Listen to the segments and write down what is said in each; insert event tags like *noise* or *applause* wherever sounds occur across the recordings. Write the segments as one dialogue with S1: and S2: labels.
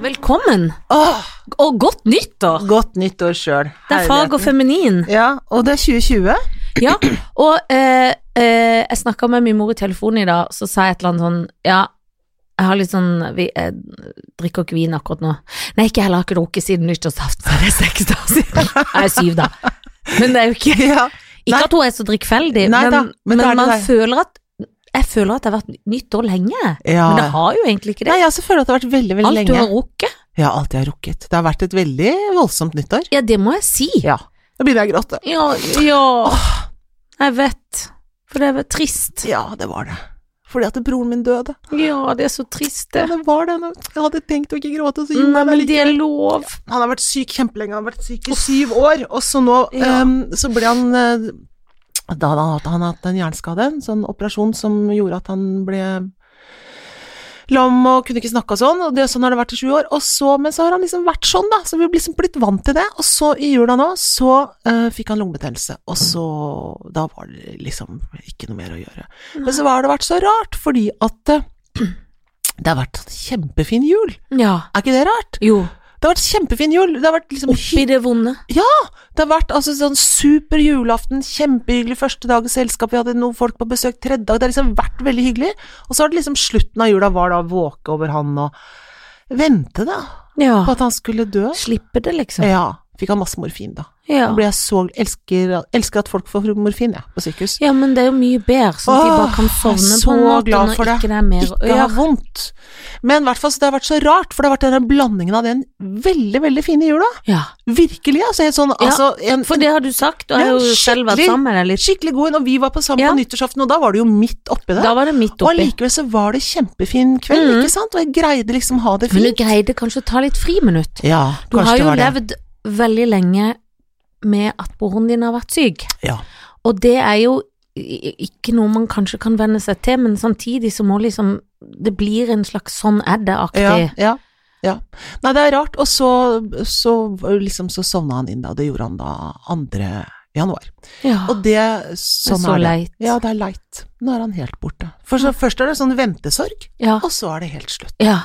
S1: velkommen,
S2: Åh,
S1: og godt nyttår!
S2: godt nyttår sjøl.
S1: Det er fag og feminin.
S2: Ja, og det er 2020.
S1: Ja, og eh, eh, jeg snakka med min mor i telefonen i dag, så sa jeg et eller annet sånn Ja, jeg har litt sånn vi, Jeg drikker ikke vin akkurat nå. Nei, ikke heller, jeg har ikke drukket siden nyttårsaften, så det er seks dager siden. Nei, syv, da. Men det er jo ikke
S2: *laughs* Ja.
S1: Ikke
S2: Nei.
S1: at hun er så drikkfeldig,
S2: Nei
S1: men,
S2: da, men
S1: men,
S2: da er det
S1: man
S2: deg.
S1: føler at Jeg føler at det har vært nyttår lenge,
S2: ja.
S1: men det har jo egentlig ikke det.
S2: Nei, altså, jeg også føler at det har vært veldig, veldig
S1: Alt du
S2: lenge.
S1: har rukket.
S2: Ja, alt jeg har rukket. Det har vært et veldig voldsomt nyttår.
S1: Ja, det må jeg si.
S2: Ja. Nå begynner jeg å gråte.
S1: Ja, ja. Jeg vet. For det er trist.
S2: Ja, det var det. Fordi at broren min døde.
S1: Ja, det er så trist,
S2: Ja,
S1: det.
S2: det var det. Jeg hadde tenkt å ikke gråte, så
S1: Nei,
S2: gjorde jeg det
S1: men
S2: likevel.
S1: det er lov.
S2: Han har vært syk kjempelenge, han har vært syk i syv år, og så nå
S1: Ja.
S2: ehm, så ble han eh, Da hadde han hatt, han hadde hatt en hjerneskade, en sånn operasjon som gjorde at han ble lam og kunne ikke snakke og sånn, og det, sånn har det vært i sju år. Og så, men så har han liksom vært sånn, da, så vi har liksom blitt vant til det. Og så i jula nå, så eh, fikk han lungebetennelse, og så Da var det liksom ikke noe mer å gjøre. Men så har det vært så rart, fordi at eh, *clears throat* det har vært en kjempefin jul.
S1: Ja.
S2: Er ikke det rart?
S1: Jo.
S2: Det har vært kjempefin jul. Det har vært liksom
S1: Oppi det vonde.
S2: det har vært altså sånn super julaften, kjempehyggelig første dag i selskapet, vi hadde noen folk på besøk tredje dag, det har liksom vært veldig hyggelig. Og så har det liksom slutten av jula var da å våke over han og vente da,
S1: Ja.
S2: på at han skulle dø.
S1: Slippe det, liksom.
S2: Ja, fikk han masse morfin da.
S1: Ja.
S2: Da ble jeg så, elsker, elsker at folk får morfin, jeg, på sykehus.
S1: ja, men det er jo mye bedre, sånn at de bare kan
S2: Åh, jeg
S1: sovne på
S2: er
S1: en
S2: så
S1: måte
S2: glad
S1: når
S2: for det.
S1: ikke det er mer
S2: Ikke
S1: ja.
S2: ha vondt. Men i hvert fall, så det har vært så rart, for det har vært denne blandingen av den veldig, veldig fine jula.
S1: ja.
S2: Virkelig, altså helt sånn,
S1: Ja,
S2: altså en,
S1: For det har du sagt, og jeg har
S2: Ja,
S1: jo selv vært
S2: skikkelig.
S1: sammen med deg litt.
S2: skikkelig god en, og vi var på sammen
S1: Ja.
S2: på nyttårsaften, og da var det jo midt oppi det.
S1: Da var det midt
S2: og
S1: oppi.
S2: allikevel så var det kjempefin kveld,
S1: Mhm.
S2: ikke sant, og jeg greide liksom ha det
S1: Men du
S2: fint.
S1: greide kanskje å ta litt friminutt.
S2: Ja,
S1: Du
S2: kanskje
S1: har jo
S2: det var
S1: levd veldig lenge med at broren din har vært syk.
S2: det. Ja.
S1: Og det er jo i- ikke noe man kanskje kan venne seg til, men samtidig så må liksom Det blir en slags sånn er
S2: Ja,
S1: det-aktig.
S2: ja, ja. Nei, det er rart, og så, så liksom så sovna han inn da, og det gjorde han da 2. januar.
S1: Ja.
S2: Og det, sånn
S1: Ah, så
S2: er det.
S1: leit. Ah.
S2: Ja, det er leit. Nå er han helt borte. For så, først er det sånn ventesorg,
S1: Ja.
S2: og så er det helt slutt.
S1: ja.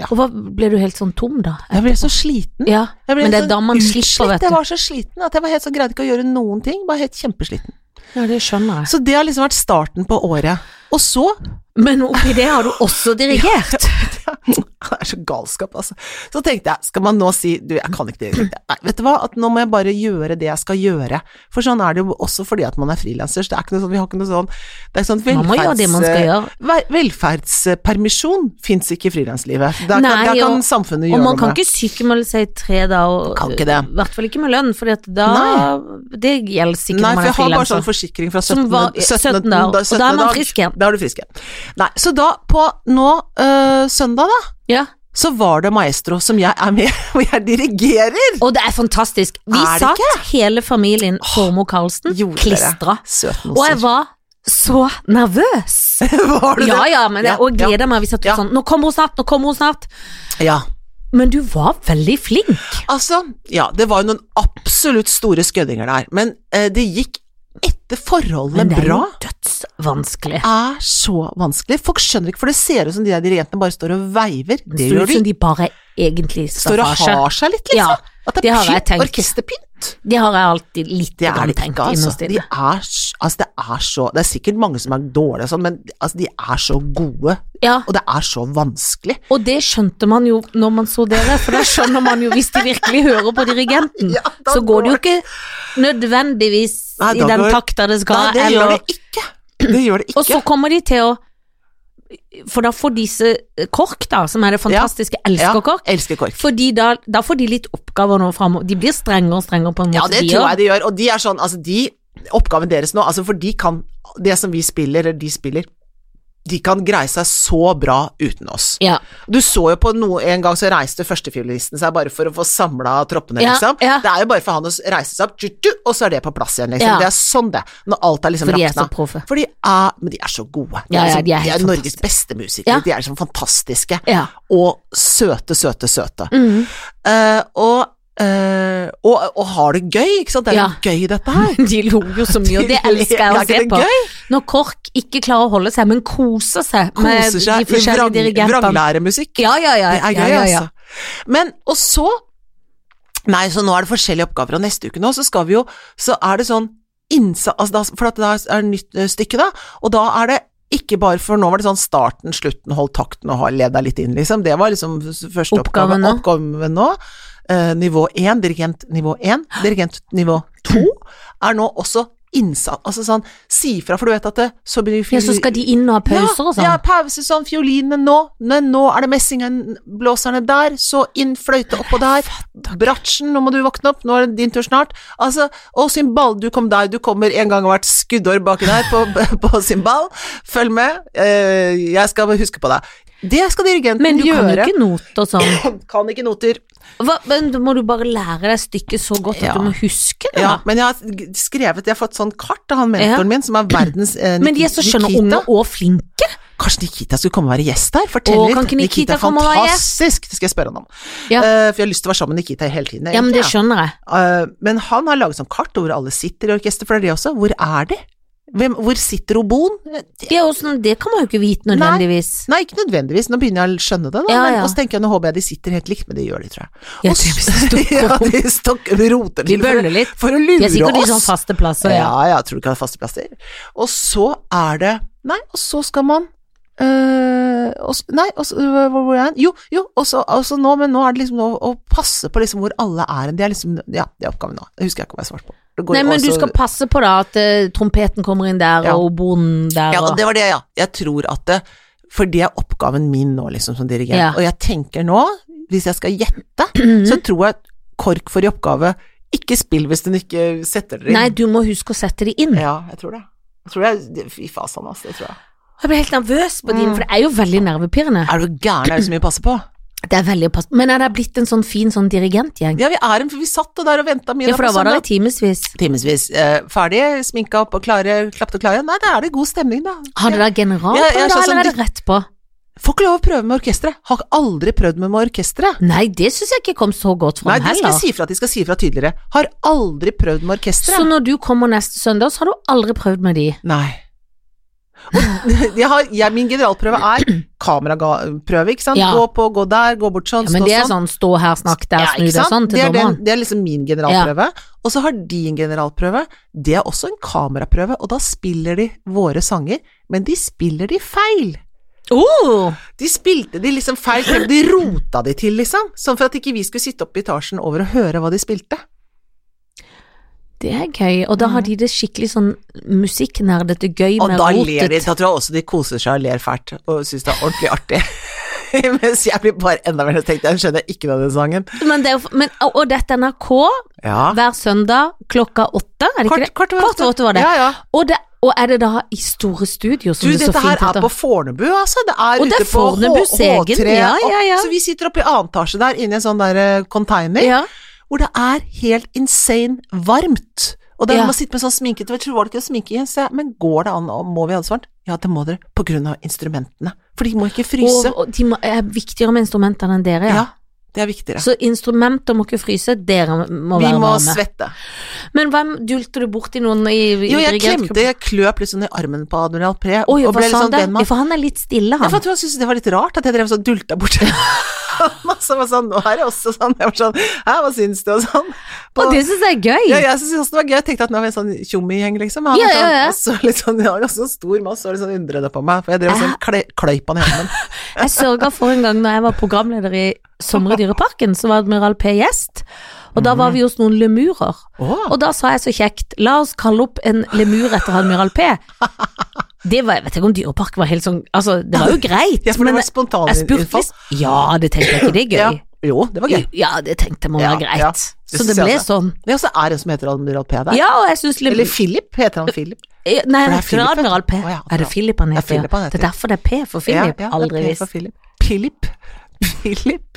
S2: Ja.
S1: Og hva ble du helt sånn tom, da?
S2: Jeg ble så sliten.
S1: Ja.
S2: Jeg ble
S1: Men det er
S2: så
S1: da man slipper,
S2: utslitt.
S1: vet du.
S2: Jeg var så sliten at jeg var helt sånn, greide ikke å gjøre noen ting, var helt kjempesliten.
S1: ja, det skjønner jeg.
S2: Så det har liksom vært starten på året. Og så *laughs*
S1: Men oppi det har du også dirigert.
S2: Det er så galskap, altså. Så tenkte jeg, skal man nå si Du, jeg kan ikke det. Nei, vet du hva, at nå må jeg bare gjøre det jeg skal gjøre. For sånn er det jo også fordi at man er frilanser. så Det er ikke noe sånn, vi har ikke noe sånn Det er ikke sånn
S1: Man må gjøre det man skal gjøre.
S2: Vel- Velferdspermisjon fins ikke i frilanslivet. Der,
S1: Nei,
S2: kan- der kan
S1: og-
S2: samfunnet
S1: Og
S2: gjøre
S1: man
S2: noe
S1: kan
S2: med.
S1: ikke sykemelde seg i tre dager,
S2: Kan ikke
S1: i
S2: det.
S1: hvert fall ikke med lønn, for da Det gjelder sikkert når man
S2: Nei, for
S1: er
S2: jeg har bare
S1: frilanser.
S2: sånn forsikring fra 17.
S1: Som var- 17. dag, og da er man
S2: dag.
S1: frisk igjen.
S2: Da er du frisk igjen. Nei, så da, på nå øh, søndag, da,
S1: Ja.
S2: så var det Maestro som jeg er med, *laughs* og jeg dirigerer.
S1: Og det er fantastisk. Vi
S2: Er det
S1: satt hele familien Formoe Carlsen
S2: Gjorde
S1: klistra.
S2: dere. Søtmoser.
S1: Og jeg var så nervøs.
S2: *laughs* Var du det?
S1: Ja, ja, men jeg, og jeg gleda meg. Vi satt jo
S2: Ja.
S1: sånn Nå kommer hun snart, nå kommer hun snart.
S2: Ja.
S1: Men du var veldig flink.
S2: Altså, ja, det var jo noen absolutt store skøddinger der, men eh, det gikk etter forholdene
S1: Men det er
S2: bra.
S1: jo dødsvanskelig.
S2: er så vanskelig. Folk skjønner ikke, for det ser ut som de der dirigentene bare står og veiver. Det
S1: Det ser
S2: gjør
S1: ut
S2: de.
S1: som liksom de bare er egentlig
S2: Står og
S1: staffasje.
S2: har seg litt, liksom.
S1: Ja,
S2: At
S1: det
S2: det
S1: har
S2: er
S1: jeg
S2: pynt,
S1: tenkt.
S2: orkesterpynt.
S1: Det har jeg alltid litt
S2: Det er
S1: grann
S2: det
S1: tenkt
S2: ikke, altså.
S1: innerst
S2: De
S1: inne.
S2: er, s- altså. Det er så Det er sikkert mange som er dårlige og sånn, men altså, de er så gode,
S1: Ja,
S2: og det er så vanskelig.
S1: og det skjønte man jo når man så dere, for da skjønner man jo hvis de virkelig hører på dirigenten,
S2: Ja, da
S1: så går det jo
S2: går-
S1: ikke nødvendigvis
S2: Nei,
S1: i
S2: da
S1: den
S2: går-
S1: takta det skal,
S2: Nei, det
S1: eller
S2: gjør det ikke. Det gjør det
S1: Og så
S2: ikke.
S1: kommer de til å For da får disse eh, KORK, da, som er det fantastiske
S2: Ja,
S1: Elsker KORK,
S2: elsker KORK.
S1: fordi da, da får de litt oppgaver nå framover. De blir strengere og strengere på en måte.
S2: Ja, det
S1: de
S2: tror
S1: også.
S2: jeg de gjør, og de er sånn, altså de, oppgaven deres nå, altså for de kan, det som vi spiller, eller de spiller, de kan greie seg så bra uten oss.
S1: Ja.
S2: Du så jo på noe, en gang så reiste førstefiolisten seg bare for å få samla troppene,
S1: Ja,
S2: liksom.
S1: ja.
S2: Det er jo bare for han å reise seg opp, tju, tju, og så er det på plass igjen, liksom.
S1: Ja.
S2: Det er sånn det, når alt er liksom
S1: For de er
S2: rakna.
S1: så proffe.
S2: For de er, men de er så gode.
S1: Ja, ja,
S2: liksom-
S1: de er helt
S2: Norges beste musikere,
S1: Ja.
S2: de er liksom fantastiske.
S1: Ja.
S2: Og søte, søte, søte.
S1: Mhm.
S2: Eh, og, eh, og, og har det gøy, ikke sant? Det er
S1: Ja.
S2: jo gøy dette her.
S1: De lo *laughs* jo så mye,
S2: *laughs*
S1: og det elsker jeg
S2: Er
S1: å
S2: ikke
S1: se
S2: det
S1: på.
S2: gøy?
S1: Når KORK ikke klarer å holde seg, men koser seg med
S2: Koser seg
S1: de
S2: i
S1: forskjellige
S2: vrang,
S1: dirigentene.
S2: vranglæremusikk.
S1: Ja, ja, ja.
S2: Det er gøy,
S1: ja, ja, ja.
S2: altså. Men, og så Nei, så nå er det forskjellige oppgaver, og neste uke nå så skal vi jo Så er det sånn innsa... Altså da, for at da er det nytt eh, stykke, da, og da er det ikke bare for nå var det sånn starten, slutten, hold takten og ha- led deg litt inn, liksom. Det var liksom s- første oppgave.
S1: Oppgaven nå.
S2: Oppgaven nå. Eh, nivå én, dirigent nivå én. Dirigent nivå to er nå også innsats Altså sånn si fra, for du vet at det, så blir
S1: Ja, så skal de inn og ha pauser og sånn.
S2: ja, ja, pause sånn, fiolinene nå, nei, nå er det messingblåserne der, så inn fløyte oppå der, bratsjen, nå må du våkne opp, nå er det din tur snart, altså, og cymbal, du kom der, du kommer en gang hvert skuddår baki der på, *laughs* på cymbal, følg med, eh, jeg skal huske på deg. Det skal dirigenten
S1: Men du kan jo
S2: gjøre.
S1: ikke noter og sånn.
S2: *clears throat* Kan ikke noter.
S1: Hva, men da må du bare lære deg stykket så godt at
S2: Ja.
S1: du må huske det,
S2: Ja,
S1: da.
S2: men jeg har g- skrevet, jeg har fått sånn kart av han mentoren min, som er verdens eh,
S1: Men de er så skjønne
S2: Nikita.
S1: unge og flinke.
S2: Kanskje Nikita skulle komme og være gjest her? Fortell
S1: Å,
S2: litt.
S1: kan ikke Nikita
S2: er
S1: komme og være gjest?
S2: fantastisk, det skal jeg spørre han om.
S1: Ja.
S2: Eh, for jeg har lyst til å være sammen med Nikita hele tiden.
S1: Ja, men det
S2: egentlig, ja.
S1: skjønner jeg.
S2: Eh, men han har laget sånn kart over hvor alle sitter i orkester, for det er det også. Hvor er de? Hvem, hvor sitter oboen? Eh,
S1: Ja, og sånn, det kan man jo ikke vite nødvendigvis.
S2: Nei, ikke nødvendigvis, nå begynner jeg å skjønne det, da.
S1: Ja,
S2: Men,
S1: ja.
S2: og så tenker jeg, nå håper jeg de sitter helt likt, men det gjør de, tror jeg.
S1: Ja,
S2: Og
S1: typisk,
S2: så-
S1: de stukker
S2: *laughs* ja,
S1: om.
S2: de stokker, de roter
S1: De
S2: til for-
S1: bøller litt.
S2: for å
S1: De
S2: lure
S1: er sikkert i
S2: oss.
S1: sånn faste plasser, ja.
S2: Ja, ja, tror du ikke han har faste plasser? Og så er det Nei, og så skal man øh, og, s- Nei, og så hvor, hvor er han? Jo, jo, og så og så nå, men nå er det liksom å, å passe på liksom hvor alle er hen. Det er liksom Ja, det er oppgaven nå. Jeg husker jeg ikke hva jeg svarte på. Det går
S1: Nei,
S2: jo
S1: men du
S2: også-
S1: skal passe på da at eh, trompeten kommer inn der,
S2: Ja.
S1: og oboen der,
S2: Ja, og
S1: og
S2: det var det, ja. Jeg tror at det For det er oppgaven min nå, liksom, som dirigent.
S1: Ja. Mhm.
S2: Og jeg tenker nå, hvis jeg skal gjette, så tror jeg at KORK får i oppgave ikke spill hvis den ikke setter dere inn.
S1: Nei, du må huske å sette de inn.
S2: Ja, jeg tror det. Jeg tror det er Fy fasan, altså. Det tror jeg.
S1: Jeg ble helt nervøs på din,
S2: Mm.
S1: for det er jo veldig nervepirrende.
S2: Er du gæren, det er jo så mye å passe på.
S1: Det er veldig pass... Men er det blitt en sånn fin sånn dirigentgjeng?
S2: Ja, vi er en, for vi satt der og venta mye
S1: Ja, for da var det i timevis.
S2: Timevis. Eh, ferdig, sminka opp og klare, klappet og klare. Nei, da er det god stemning, da.
S1: Har det da
S2: Ja, ja,
S1: generalprøve, da,
S2: sånn som
S1: eller er
S2: de-
S1: det rett på?
S2: Får ikke lov å prøve med orkesteret. Har aldri prøvd med, med orkesteret.
S1: Nei, det syns jeg ikke kom så godt
S2: Nei,
S1: fram
S2: de skal
S1: heller.
S2: si fra, de skal si fra tydeligere. Har aldri prøvd med
S1: Så
S2: orkesteret.
S1: når du kommer neste søndag, så har du aldri prøvd med de.
S2: Nei. Og *laughs* jeg har, jeg, min generalprøve er kameraprøve, ikke sant.
S1: Ja.
S2: Gå på, gå der, gå bort sånn,
S1: Ja, men
S2: stå
S1: det er
S2: sånn.
S1: sånn stå her, snakk der,
S2: Ja,
S1: snu
S2: ikke
S1: deg
S2: sant?
S1: sånn til
S2: det, er den,
S1: dommeren.
S2: det er liksom min generalprøve. Og så har de en generalprøve. Det er også en kameraprøve, og da spiller de våre sanger, men de spiller de feil.
S1: Oh!
S2: De spilte de liksom feil, tempo, de rota de til, liksom. Sånn for at ikke vi skulle sitte oppe i etasjen over og høre hva de spilte.
S1: Det er gøy, og da har de det skikkelig sånn musikknerdete gøy
S2: Og
S1: med
S2: da ler de.
S1: rotet.
S2: Da tror jeg også de koser seg og ler fælt, og syns det er ordentlig artig. Mens jeg blir bare enda mer tenkt, jeg skjønner ikke denne sangen.
S1: Men det er, jo f- men, og og dette er NRK
S2: Ja.
S1: hver søndag klokka åtte, er det ikke det? Kvart over åtte var det.
S2: Ja, ja.
S1: Og, det, og er det da i store studio, som
S2: Du,
S1: det så
S2: dette her
S1: fint
S2: er
S1: heter?
S2: på Fornebu, altså. Det er
S1: Og det er
S2: ute på
S1: Fornebus
S2: H- H3.
S1: egen, ja, ja, ja.
S2: Og- Så vi sitter oppe i annen etasje der, inne i en sånn der eh, container,
S1: Ja.
S2: hvor det er helt insane varmt. Og der
S1: Ja.
S2: må man sitte med sånn sminket, jeg tror var det ikke å sminke igjen, så jeg, men går det an, og må vi ha det svart? Ja, det må dere, på grunn av instrumentene. For de må ikke fryse.
S1: Og, og de må, er viktigere med instrumentene enn dere,
S2: ja.
S1: ja.
S2: det er viktigere.
S1: Så instrumenter må ikke fryse, dere må
S2: vi
S1: være
S2: må
S1: varme.
S2: svette.
S1: Men hvem dulter du borti noen i, i
S2: Jo, jeg
S1: dirigentgruppen?
S2: klemte, jeg kløp liksom i armen på Admiral Pre,
S1: Oi,
S2: og
S1: hva
S2: ble litt
S1: sa
S2: sånn
S1: han
S2: venn
S1: da?
S2: med
S1: Ja, for han er litt stille,
S2: Ja, for
S1: han.
S2: jeg tror han syntes det var litt rart at jeg drev og sånn dulta
S1: *laughs*
S2: bort Og så var sånn, nå er det også sånn, jeg var sånn, hæ, hva syns du, og sånn. På-
S1: Og det syns jeg er gøy.
S2: ja, jeg syntes også det var gøy, jeg tenkte at nå er vi en sånn tjommigjeng, liksom. Han
S1: Ja,
S2: var
S1: ja, ja.
S2: sånn, og så litt sånn, ja, og så stor mann, så litt sånn undrende på meg, for jeg drev og sånn kle, kløyp han i hånden.
S1: Jeg sørga for en gang når jeg var programleder i Sommer i Dyreparken, så var Admiral P gjest. Og da var vi hos noen lemurer.
S2: Mhm. Åh,
S1: Og da sa jeg så kjekt, la oss kalle opp en lemur etter Admiral
S2: *laughs*
S1: P. Det var, jeg vet ikke om Dyreparken var helt sånn Altså, det var jo greit,
S2: jeg spurte
S1: men
S2: meg
S1: jeg,
S2: spontan
S1: jeg spurte
S2: innfall.
S1: hvis Ja, det tenkte jeg ikke, det er
S2: Ja,
S1: gøy.
S2: jo, det var gøy.
S1: Ja, det tenkte jeg må
S2: Ja,
S1: være
S2: ja,
S1: greit. Så
S2: det synes
S1: det
S2: jeg
S1: ble
S2: også.
S1: sånn.
S2: Ja, så er det en som heter Admiral P der.
S1: Ja, og jeg syns
S2: Eller Philip, heter han Philip?
S1: Eh, Nei, jeg vet
S2: det er
S1: ikke, det er
S2: Philip,
S1: Admiral P.
S2: vet du. Å ja,
S1: Er det
S2: Admiral.
S1: Philip han
S2: Det er
S1: heter?
S2: Philip han
S1: ja? Det
S2: heter.
S1: er derfor det er P for Philip.
S2: Ja, ja, det er
S1: Aldri
S2: P
S1: visst.
S2: for Philip. Philip. Philip.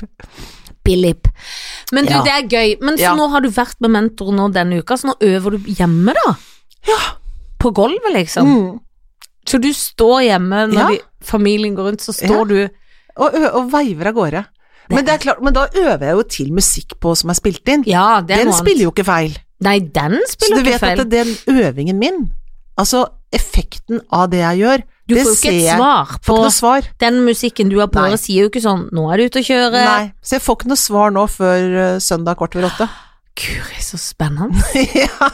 S1: Billip. Men du,
S2: Ja.
S1: det er gøy. Men så
S2: Ja.
S1: nå har du vært med mentor nå denne uka, så nå øver du hjemme, da?
S2: Ja.
S1: På gulvet, liksom?
S2: Mm.
S1: Så du står hjemme når
S2: Ja.
S1: de, familien går rundt, så
S2: Ja.
S1: står du
S2: og, ø- og veiver av gårde. Men, det er klart, men da øver jeg jo til musikk på som er spilt inn.
S1: Ja, det er
S2: Den
S1: noe annet.
S2: spiller jo ikke feil.
S1: Nei, den
S2: Så
S1: spiller
S2: du
S1: ikke
S2: vet
S1: feil.
S2: at den øvingen min, altså effekten av det jeg gjør,
S1: Du
S2: Det
S1: får jo ikke
S2: ser
S1: et
S2: jeg.
S1: svar på
S2: Får ikke noe svar.
S1: Den musikken du har på
S2: Nei.
S1: øret sier jo ikke sånn 'nå er du ute og kjører'.
S2: Nei. Så jeg får ikke noe svar nå før eh, søndag kvart over åtte.
S1: Ah. Guri, så spennende. *laughs*
S2: ja.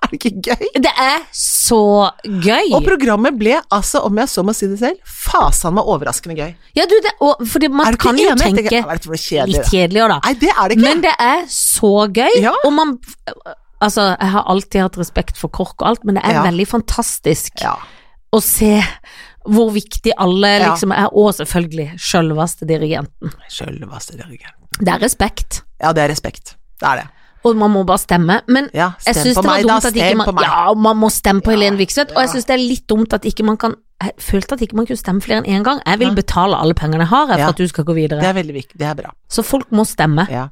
S2: Er det ikke gøy?
S1: Det er så gøy.
S2: Og programmet ble altså, om jeg så må si det selv, fasan meg overraskende gøy.
S1: Ja, Ah, du, det, og, fordi man
S2: er du ikke
S1: kan jo
S2: enig? Jeg
S1: tenke
S2: tenker, "Nei, vet du hvor kjedelig
S1: litt
S2: det er."
S1: kjedelig òg, da.
S2: Nei, det er det ikke.
S1: Men det er så gøy,
S2: Ja.
S1: og man Altså, jeg har alltid hatt respekt for KORK og alt, men det er
S2: Ja.
S1: veldig fantastisk
S2: Ja.
S1: å se hvor viktig alle
S2: Ja.
S1: liksom er, og selvfølgelig sjølveste dirigenten.
S2: Sjølveste dirigenten.
S1: Det er respekt,
S2: Ja, det er respekt. Det er det.
S1: og man må bare stemme, men
S2: Ja,
S1: jeg
S2: stem
S1: syns
S2: på
S1: det var
S2: meg, da.
S1: dumt at ikke
S2: Stem på
S1: man
S2: meg.
S1: Ja, man må stemme på
S2: Ja,
S1: Helene Viksøt, og jeg
S2: ja.
S1: syns det er litt dumt at ikke man kan Jeg følte at ikke man kunne stemme flere enn én gang. Jeg vil
S2: Ja.
S1: betale alle pengene jeg har, jeg,
S2: Ja.
S1: for at du skal gå videre.
S2: Det er veldig viktig. Det er bra.
S1: Så folk må stemme.
S2: Ja.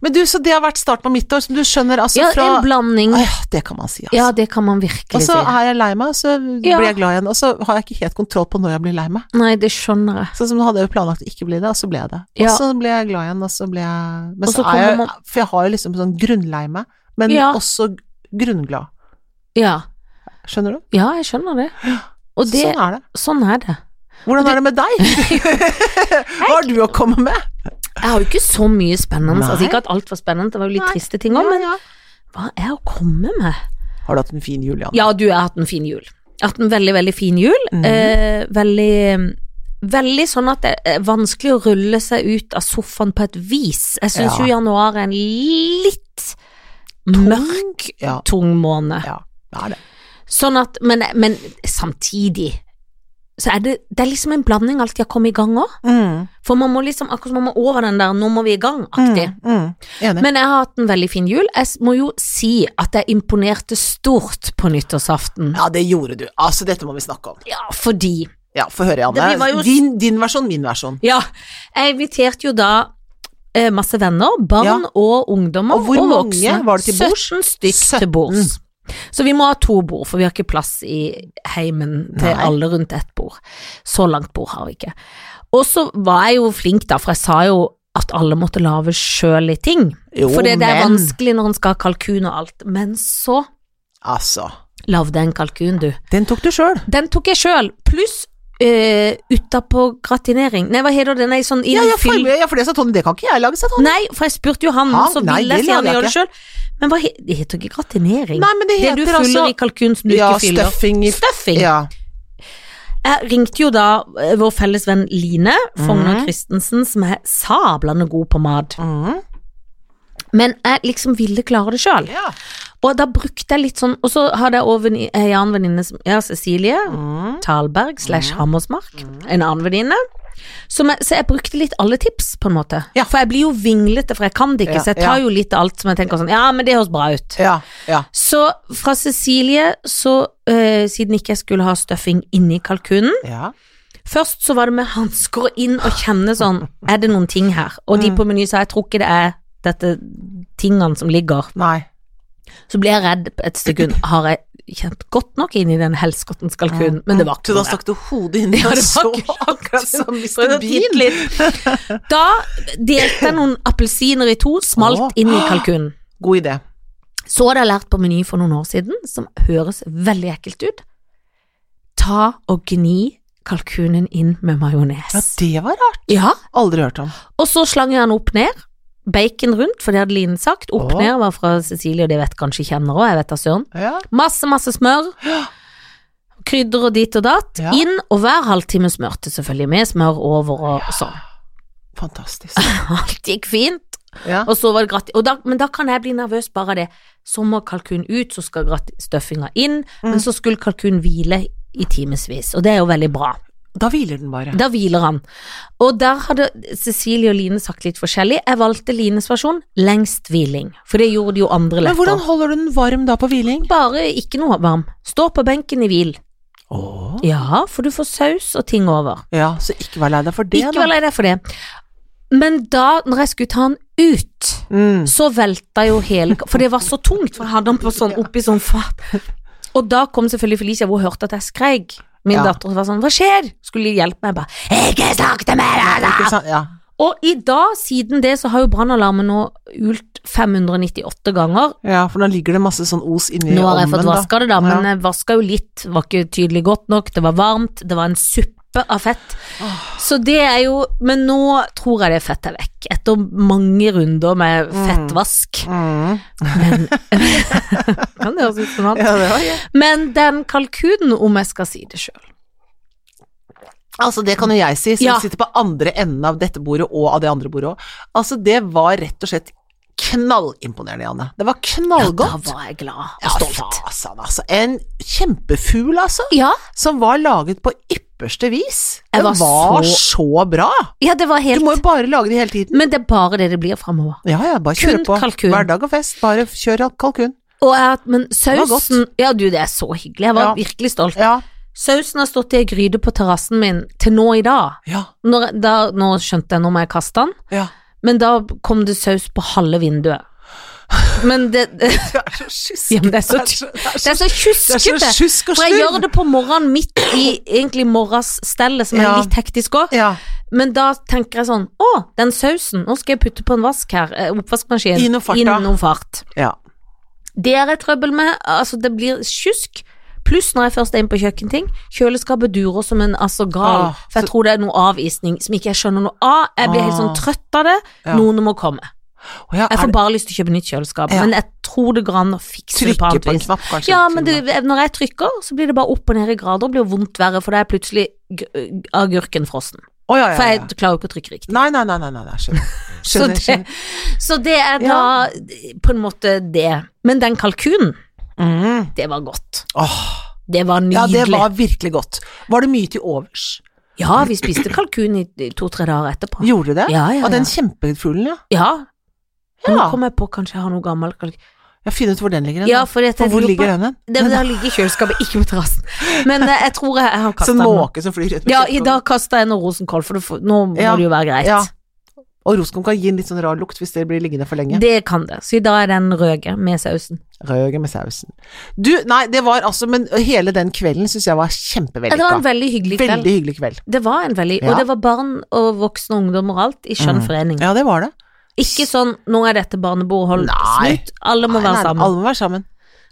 S2: Men du, så det har vært starten på mitt år, som du skjønner, altså
S1: Ja,
S2: fra
S1: en blanding.
S2: Åh, det kan man si, altså.
S1: Ja, det kan man virkelig
S2: og
S1: si.
S2: så er jeg lei meg, og så
S1: Ja.
S2: blir jeg glad igjen. Og så har jeg ikke helt kontroll på når jeg blir lei meg.
S1: Nei, det skjønner jeg.
S2: Sånn som hadde jeg jo planlagt å ikke bli det, og så ble jeg det.
S1: Ja.
S2: Og så ble jeg glad igjen, og så ble jeg Men
S1: Og så
S2: så er jeg
S1: kommer
S2: For jeg har jo liksom sånn grunnlei meg, men
S1: Ja.
S2: også grunnglad.
S1: Ja,
S2: Skjønner du?
S1: ja jeg skjønner det. Og det,
S2: sånn er det.
S1: sånn er det.
S2: Hvordan er det med deg?
S1: *laughs*
S2: Hva har du å komme med?
S1: Jeg har jo ikke så mye spennende.
S2: Nei.
S1: Altså Ikke at alt var spennende, det var jo litt
S2: Nei.
S1: triste ting òg, men
S2: Ja, ja.
S1: hva er å komme med?
S2: Har du hatt en fin jul, Jan?
S1: Ja, du, jeg har hatt en fin jul. Jeg har hatt en veldig, veldig fin jul.
S2: Mhm.
S1: Eh, veldig Veldig sånn at det er vanskelig å rulle seg ut av sofaen på et vis. Jeg syns
S2: Ja.
S1: jo januar er en litt mørk,
S2: Ja.
S1: tung måned.
S2: Ja, det er det.
S1: Sånn at, men, men samtidig så er det, det er liksom en blanding alltid å komme i gang òg. For man må liksom, akkurat som man må over den der 'nå må vi i gang'-aktig.
S2: Mm, mm. Enig.
S1: Men jeg har hatt en veldig fin jul. Jeg s- må jo si at jeg imponerte stort på nyttårsaften.
S2: ja, det gjorde du. Altså, dette må vi snakke om.
S1: Ja, fordi
S2: Ja, få høre,
S1: Det- vi var
S2: Janne.
S1: jo-
S2: Din, din versjon, min versjon.
S1: Ja, jeg inviterte jo da eh, masse venner, barn og ungdommer
S2: Og hvor
S1: voksne.
S2: mange var det til bords?
S1: 17 stykk til
S2: 17.
S1: bords. Så vi må ha to bord, for vi har ikke plass i heimen til
S2: Nei.
S1: alle rundt ett bord. Så langt bord har vi ikke. Og så var jeg jo flink da, for jeg sa jo at alle måtte lage sjøl litt ting.
S2: Jo,
S1: for det det er
S2: men
S1: vanskelig når en skal ha kalkun og alt. Men så
S2: Altså,
S1: lagde jeg en kalkun, du.
S2: den tok du sjøl.
S1: Den tok jeg sjøl, pluss eh, utapå gratinering. Nei, hva heter det? Nei, sånn
S2: Ja, ja, for,
S1: innfyll-
S2: ja, for det sa Tony, det kan ikke jeg lage, sa Tony.
S1: Nei, for jeg spurte jo han,
S2: Han?
S1: så
S2: Nei,
S1: ville jeg
S2: det
S1: se han
S2: lager jeg
S1: gjøre det sjøl. Men hva he det heter ikke gratinering?
S2: Nei, men det
S1: det
S2: heter
S1: du fyller
S2: altså
S1: i kalkunen som du
S2: Ja,
S1: ikke fyller.
S2: stuffing i-
S1: Stuffing.
S2: Ja.
S1: Jeg ringte jo da eh, vår felles venn Line Fogner
S2: Mhm.
S1: Christensen, som er sablende god på mat.
S2: Mm.
S1: Men jeg liksom ville klare det sjøl.
S2: ja.
S1: Og da brukte jeg litt sånn Og så hadde jeg også eh, en annen venninne som Ja, Cecilie.
S2: Mm.
S1: Talberg slash Hammersmark, en annen venninne. Som jeg- Så jeg brukte litt alle tips, på en måte.
S2: Ja.
S1: For jeg blir jo vinglete, for jeg kan det ikke,
S2: Ja,
S1: så jeg tar
S2: ja.
S1: jo litt av alt som jeg tenker sånn Ja, men det høres bra ut.
S2: ja. Ja.
S1: Så fra Cecilie, så eh, siden ikke jeg skulle ha stuffing inni kalkunen
S2: Ja.
S1: Først så var det med hansker og inn og kjenne sånn
S2: *laughs*
S1: Er det noen ting her? Og
S2: Mm.
S1: de på Meny sa jeg tror ikke det er dette tingene som ligger.
S2: Nei.
S1: Så ble jeg redd et sekund. Har jeg kjent godt nok inn i den helskottens
S2: Mm.
S1: kalkunen? Men det var ikke
S2: Så da
S1: noe der.
S2: stakk du hodet inn
S1: Ja,
S2: og
S1: det
S2: så
S1: var ikke
S2: akkurat som
S1: For
S2: Mr.
S1: å titte
S2: Bean. *laughs*
S1: litt. Da delte jeg noen appelsiner i to, smalt
S2: Åh.
S1: inn i kalkunen.
S2: God idé.
S1: Så hadde jeg lært på Meny for noen år siden, som høres veldig ekkelt ut. Ta og gni kalkunen inn med
S2: Ja,
S1: majones.
S2: det var rart.
S1: Ja,
S2: Aldri hørt om.
S1: og så slang jeg den opp ned. Bacon rundt, for det hadde Line sagt. Opp
S2: Åh.
S1: ned var fra Cecilie, og det vet kanskje kjenner òg, jeg vet da søren.
S2: Ja.
S1: Masse, masse smør. Krydder og dit og datt.
S2: Ja.
S1: Inn, og hver halvtime smørte selvfølgelig med smør over og sånn. *laughs*
S2: Fantastisk.
S1: Alt gikk fint.
S2: Ja.
S1: Og så var det gratis. Og da, men da kan jeg bli nervøs bare av det. Så må kalkunen ut, så skal gratis- stuffinga inn,
S2: Mm.
S1: men så skulle kalkunen hvile i timevis, og det er jo veldig bra.
S2: Da hviler den bare.
S1: Da hviler han. Og der hadde Cecilie og Line sagt litt forskjellig. Jeg valgte Lines versjon, lengst hviling, for det gjorde jo andre
S2: Men hvordan
S1: lettere.
S2: holder du den varm da på hviling?
S1: Bare ikke noe varm. Stå på benken i hvil.
S2: Åh.
S1: Ja, for du får saus og ting over.
S2: Ja, så ikke vær lei deg for det,
S1: ikke vær lei deg for det. Men da, når jeg skulle ta han ut
S2: Mm.
S1: så velta jo hele For det var så tungt, for jeg hadde den på sånn, oppi sånn fat. Og da kom selvfølgelig Felicia, hvor hun hørte at jeg skreik. Min
S2: Ja.
S1: datter var sånn 'hva skjer?' Skulle hjelpe meg. Jeg bare 'ikke snakk til meg', da!»
S2: Ikke sant? Ja.
S1: Og i dag, siden det, så har jo brannalarmen nå ult 598 ganger.
S2: Ja, for nå ligger det masse sånn os inni
S1: Nå har jeg fått
S2: ovnen, da.
S1: vaska det, da, men
S2: Ja.
S1: jeg vaska jo litt. Var ikke tydelig godt nok. Det var varmt. Det var en suppe av fett. Så det er jo Men nå tror jeg det fettet er vekk. Etter mange runder med
S2: Mm.
S1: fettvask.
S2: *laughs* Mm. *laughs*
S1: Men, kan det høres ut som noe annet.
S2: Ja, det var jeg.
S1: Men den kalkunen, om jeg skal si det sjøl
S2: Altså, det kan jo jeg si, som
S1: Ja.
S2: sitter på andre enden av dette bordet og av det andre bordet òg. Altså, det var rett og slett knallimponerende, Janne. Det var
S1: Da
S2: knallgodt.
S1: var jeg glad og
S2: Ja,
S1: stolt.
S2: fasan, altså. En kjempefugl, altså,
S1: Ja,
S2: som var laget på ypperste vis.
S1: Jeg var
S2: Det var,
S1: så-
S2: så... bra.
S1: ja, det var
S2: Du må
S1: helt
S2: jo bare lage det hele tiden.
S1: Men det er bare det det blir framover.
S2: Ja, ja, bare
S1: Kun
S2: kjøre på.
S1: kalkun.
S2: Hverdag og fest, bare kjør kalkun.
S1: Og jeg, har hatt- men
S2: var godt.
S1: sausen Ja, du, det er så hyggelig. Jeg var
S2: Ja.
S1: virkelig stolt.
S2: Ja.
S1: Sausen har stått i ei gryte på terrassen min til nå i dag.
S2: Ja,
S1: Når, da, nå skjønte jeg når må jeg kaste den,
S2: ja.
S1: men da kom det saus på halve vinduet. Men det, *laughs* det,
S2: Du er så sjusk.
S1: ja, men det er så,
S2: så- det er
S1: det er så
S2: det er så
S1: tjuskete.
S2: sjusk og
S1: For jeg gjør
S2: slurv.
S1: det på morgenen midt i egentlig morgenstellet, som er
S2: Ja.
S1: litt hektisk òg.
S2: Ja.
S1: Men da tenker jeg sånn Å, den sausen, nå skal jeg putte på en vask her. eh, Oppvaskmaskin.
S2: I noe fart, da.
S1: I noe fart.
S2: ja.
S1: Det er jeg trøbbel med. Altså, det blir tjusk. Pluss når jeg først er inne på kjøkkenting. Kjøleskapet durer som en altså gal.
S2: Åh,
S1: for jeg tror det er noe avisning som ikke jeg skjønner noe av. Jeg blir helt sånn
S2: Åh.
S1: trøtt av det.
S2: Ah. Ja.
S1: Noen må komme.
S2: Å ja,
S1: Jeg
S2: er
S1: får
S2: det
S1: bare lyst til å kjøpe nytt kjøleskap.
S2: Ja.
S1: Men jeg tror det går an å fikse det på
S2: trykke
S1: annet
S2: på en
S1: vis.
S2: knapp, kanskje?
S1: Ja, men
S2: til
S1: det,
S2: og med.
S1: når jeg trykker, så blir det bare opp og ned i grader og blir vondt verre, for da er plutselig gr- agurken frossen.
S2: Å ja,
S1: For
S2: ja, ja.
S1: jeg klarer jo ikke å trykke riktig.
S2: Nei, nei, nei, nei, nei, nei, skjønner.
S1: *laughs* Så
S2: skjønner,
S1: det,
S2: skjønner.
S1: så det er da på en måte det. Men den kalkunen,
S2: Mm.
S1: det var godt.
S2: Åh,
S1: Det var
S2: ja,
S1: nydelig.
S2: det var virkelig godt. Var det mye til overs?
S1: Ja, vi spiste kalkun i i to-tre dager etterpå.
S2: Gjorde du det?
S1: Ja, ja,
S2: Og den
S1: ja.
S2: kjempefuglen, ja.
S1: Ja. Og nå
S2: Ja.
S1: kom jeg på kanskje jeg har noe gammel kalkun.
S2: Jeg har funnet ut hvor den ligger. hen,
S1: Ja,
S2: da.
S1: fordi at jeg
S2: og hvor
S1: lurer
S2: ligger
S1: på-
S2: den hen?
S1: Det, det har ligget i kjøleskapet, ikke på terrassen. Men eh, jeg tror jeg, jeg har kasta
S2: Sånn
S1: den. nå.
S2: måke som flyr rundt på
S1: Ja, i
S2: kjøkkenet.
S1: dag kasta jeg noe rosenkål, for det får- nå må
S2: Ja.
S1: det jo være greit.
S2: Ja. Og rosenkål kan gi en litt sånn rar lukt hvis det blir liggende for lenge.
S1: Det kan det. Så i dag er den røde med sausen.
S2: Røge med sausen. Du, nei, det var altså Men hele den kvelden syns jeg var
S1: Ja, det var en
S2: kjempevellykka.
S1: veldig hyggelig kveld.
S2: Veldig hyggelig kveld.
S1: Det var en veldig
S2: Ja. Mm.
S1: Og det var barn og voksne og ungdommer og alt i skjønn forening.
S2: Ja, det var det.
S1: Ikke sånn 'nå er dette barnebord, hold
S2: Nei.
S1: slutt', alle må
S2: Nei,
S1: være
S2: nei,
S1: sammen.
S2: Alle må være sammen.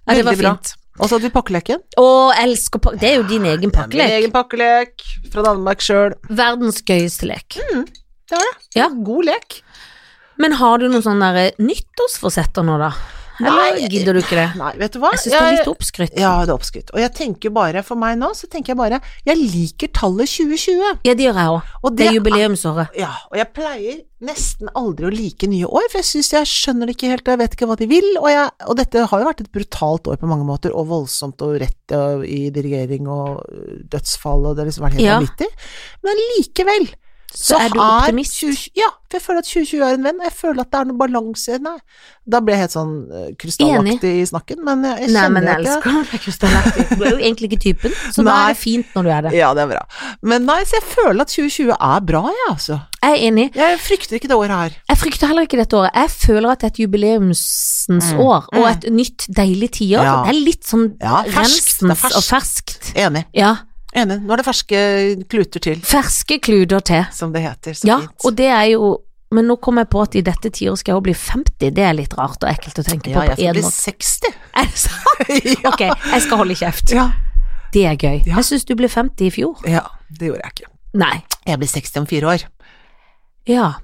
S1: ja, det var
S2: Veldig bra.
S1: fint.
S2: Og så hadde vi pakkeleken.
S1: Og jeg elsker pak- Det er jo din egen
S2: Ja, min
S1: pakkelek.
S2: egen pakkelek fra Danmark sjøl.
S1: Verdens gøyeste lek.
S2: Det var det.
S1: Ja.
S2: God lek.
S1: Men har du noen sånne der eh, nyttårsforsetter nå, da? Eller
S2: Nei.
S1: gidder du ikke det?
S2: Nei, vet du hva?
S1: Jeg syns det er litt oppskrytt.
S2: Ja, det er oppskrytt. Og jeg tenker bare, for meg nå, så tenker jeg bare Jeg liker tallet 2020.
S1: Ja, det gjør jeg òg.
S2: Og
S1: Det er jubileumsåret.
S2: Ja, og jeg pleier nesten aldri å like nye år, for jeg syns jeg skjønner det ikke helt, og jeg vet ikke hva de vil, og, jeg, og dette har jo vært et brutalt år på mange måter, og voldsomt og rett og, i dirigering og øh, dødsfall, og det har liksom vært helt
S1: Ja.
S2: vanvittig. Men likevel
S1: Så er du optimist.
S2: 2020 Ja, for jeg føler at 2020 er en venn, og jeg føler at det er noe balanse Nei, da ble jeg helt sånn øh, krystallaktig i snakken, men jeg, jeg
S1: Nei,
S2: kjenner
S1: men jeg
S2: at jeg-
S1: elsker når du er krystallaktig. Du er jo egentlig ikke typen, så da
S2: Nei.
S1: er det fint når du er det.
S2: Ja, det er bra. Men nei, så jeg føler at 2020 er bra, jeg, altså.
S1: Jeg er enig.
S2: Jeg frykter ikke det året her.
S1: Jeg frykter heller ikke dette året. Jeg føler at det er et jubileumsens
S2: Mm.
S1: år, og
S2: Mm.
S1: et nytt, deilig tiår.
S2: Ja.
S1: Det er litt sånn
S2: Ja, ferskt. Det er
S1: rensens
S2: ferskt.
S1: og ferskt.
S2: Enig.
S1: Ja.
S2: Enig. Nå er det ferske kluter til,
S1: Ferske kluder til.
S2: som det heter. Så
S1: Ja,
S2: fint.
S1: og det er jo Men nå kom jeg på at i dette tiåret skal jeg jo bli 50. Det er litt rart og ekkelt å tenke
S2: ja,
S1: på
S2: jeg
S1: på
S2: skal
S1: én
S2: bli
S1: måte.
S2: 60.
S1: Er det sant?
S2: *laughs* ja.
S1: Ok, jeg skal holde kjeft.
S2: Ja.
S1: Det er gøy.
S2: Ja.
S1: Jeg syns du ble 50 i fjor.
S2: ja, det gjorde jeg ikke.
S1: Nei.
S2: Jeg blir 60 om fire år.
S1: Ja.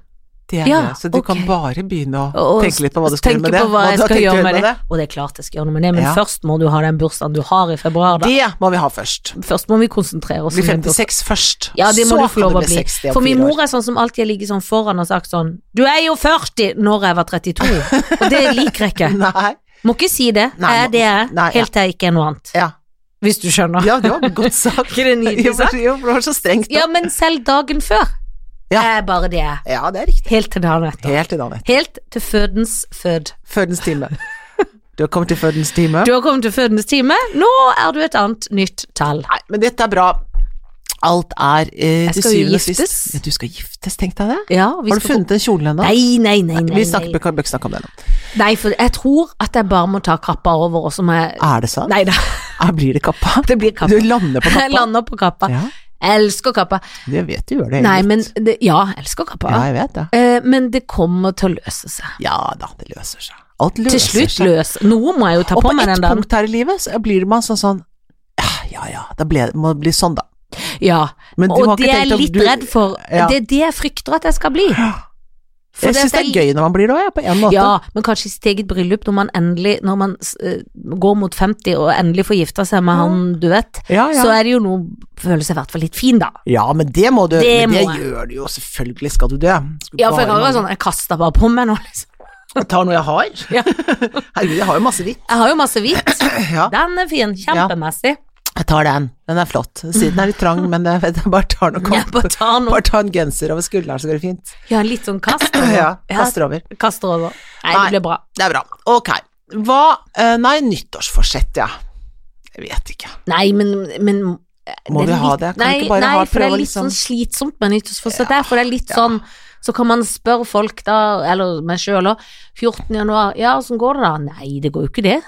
S2: Det er
S1: Ja,
S2: det. Så du
S1: ok.
S2: kan bare begynne å
S1: Og- og
S2: tenke litt på hva du skal
S1: tenke
S2: gjøre med det.
S1: på hva jeg
S2: du har
S1: skal
S2: tenkt å
S1: gjøre
S2: gjøre
S1: med det. Og det er klart jeg skal gjøre noe med det, men
S2: Ja.
S1: først må du ha den bursdagen du har i februar, da.
S2: Det må vi ha først.
S1: Først må vi konsentrere oss
S2: Bli
S1: om den bursdagen.
S2: 56 først.
S1: Ja, det må
S2: så
S1: du få lov å
S2: kan du bli
S1: bli.
S2: 60 om
S1: For min
S2: fire
S1: mor er sånn som alltid har ligget sånn foran og sagt sånn Du er jo 40! Når jeg var 32. Og det liker jeg ikke.
S2: år. *laughs* Nei.
S1: Må ikke si det.
S2: Nei,
S1: jeg er det jeg er,
S2: nei, ja.
S1: helt til jeg ikke er noe annet.
S2: Ja.
S1: Hvis du skjønner.
S2: ja, det var
S1: *laughs*
S2: godt sagt.
S1: Ikke det
S2: Jo,
S1: nydelig
S2: for
S1: sagt?
S2: jo, for det var så strengt. da.
S1: Ja, men selv dagen før
S2: Ja.
S1: er bare det jeg er.
S2: Ja, det er riktig.
S1: Helt til dagen etter.
S2: Helt i dag, vet du.
S1: Helt til fødens fød.
S2: Fødens
S1: *laughs*
S2: time. Du har kommet til fødens time.
S1: Du har kommet til fødens time, nå er du et annet nytt tall.
S2: Nei, men dette er bra. Alt er eh,
S1: Jeg
S2: til
S1: skal jo
S2: syvende og
S1: giftes.
S2: sist. Ja, du skal giftes, tenk deg det.
S1: Ja, vi
S2: Har du
S1: skal
S2: funnet en kjolen ennå?
S1: Nei, nei, nei. nei,
S2: Vi snakker,
S1: nei.
S2: bør ikke snakke om det nå.
S1: nei, for jeg tror at jeg bare må ta kappa over, og så må jeg
S2: Er det sant?
S1: Nei da, *laughs*
S2: Er, blir det kappa?
S1: det blir kappa. *laughs*
S2: Du lander på
S1: Jeg
S2: kappa?
S1: lander på kappa.
S2: Ja.
S1: Jeg elsker kappa.
S2: Jeg vet du gjør det.
S1: Nei,
S2: litt.
S1: men det, Ja, jeg elsker kappa.
S2: Ja, jeg vet det.
S1: Eh, men det kommer til å løse seg.
S2: Ja da, det løser seg. Alt løser
S1: Til slutt
S2: seg.
S1: løs. Noe må jeg jo ta
S2: Og
S1: på
S2: på
S1: meg
S2: et
S1: den dagen.
S2: punkt her i livet så blir man sånn sånn «Ah, Ja ja, det ble, må bli sånn, da.
S1: Ja.
S2: Men du
S1: Og
S2: har ikke
S1: det er
S2: tenkt
S1: jeg
S2: at
S1: litt
S2: du-
S1: redd for.
S2: Ja.
S1: Det er det jeg frykter at jeg skal bli. For
S2: Jeg
S1: det at
S2: syns det er gøy når man blir det òg, jeg, på en måte.
S1: Ja, men kanskje i sitt eget bryllup, når man endelig Når man eh, går mot 50 og endelig får gifta seg med
S2: Ja.
S1: han du vet,
S2: Ja, ja.
S1: så er det jo noe Føler seg i hvert fall litt fin, da.
S2: ja men det må du.
S1: Det
S2: men det
S1: må jeg.
S2: gjør du jo, selvfølgelig skal du dø. Skal
S1: Ja, for jeg
S2: bare-
S1: kan ikke være sånn Jeg kaster bare på meg nå, liksom.
S2: Jeg tar noe jeg har.
S1: Ja.
S2: *laughs* Herregud, jeg har jo masse hvitt.
S1: Jeg har jo masse hvitt.
S2: *clears throat* Ja.
S1: Den er fin. Kjempemessig.
S2: Jeg tar den. Den er flott. Siden er litt trang, men jeg, vet, jeg bare tar noe
S1: Jeg bare tar noe
S2: Bare ta en genser over skulderen, så går det fint.
S1: Ja, litt sånn kast. over.
S2: Ja, kaster *clears throat* over.
S1: Ja, kaster over. Nei,
S2: Nei.
S1: det blir bra.
S2: Det er bra. Ok. Hva eh, Nei, nyttårsforsett, ja. Jeg vet ikke.
S1: Nei, men, men
S2: Må
S1: det er
S2: vi ha
S1: litt-
S2: det? Kan vi
S1: nei,
S2: ikke bare
S1: nei,
S2: ha-
S1: for det
S2: prøve
S1: er litt
S2: liksom-
S1: sånn slitsomt med nyttårsforsett der, for det er litt sånn Så kan man spørre folk da, eller meg sjøl òg, 14. januar, ja, åssen går det da? Nei, det går jo ikke det.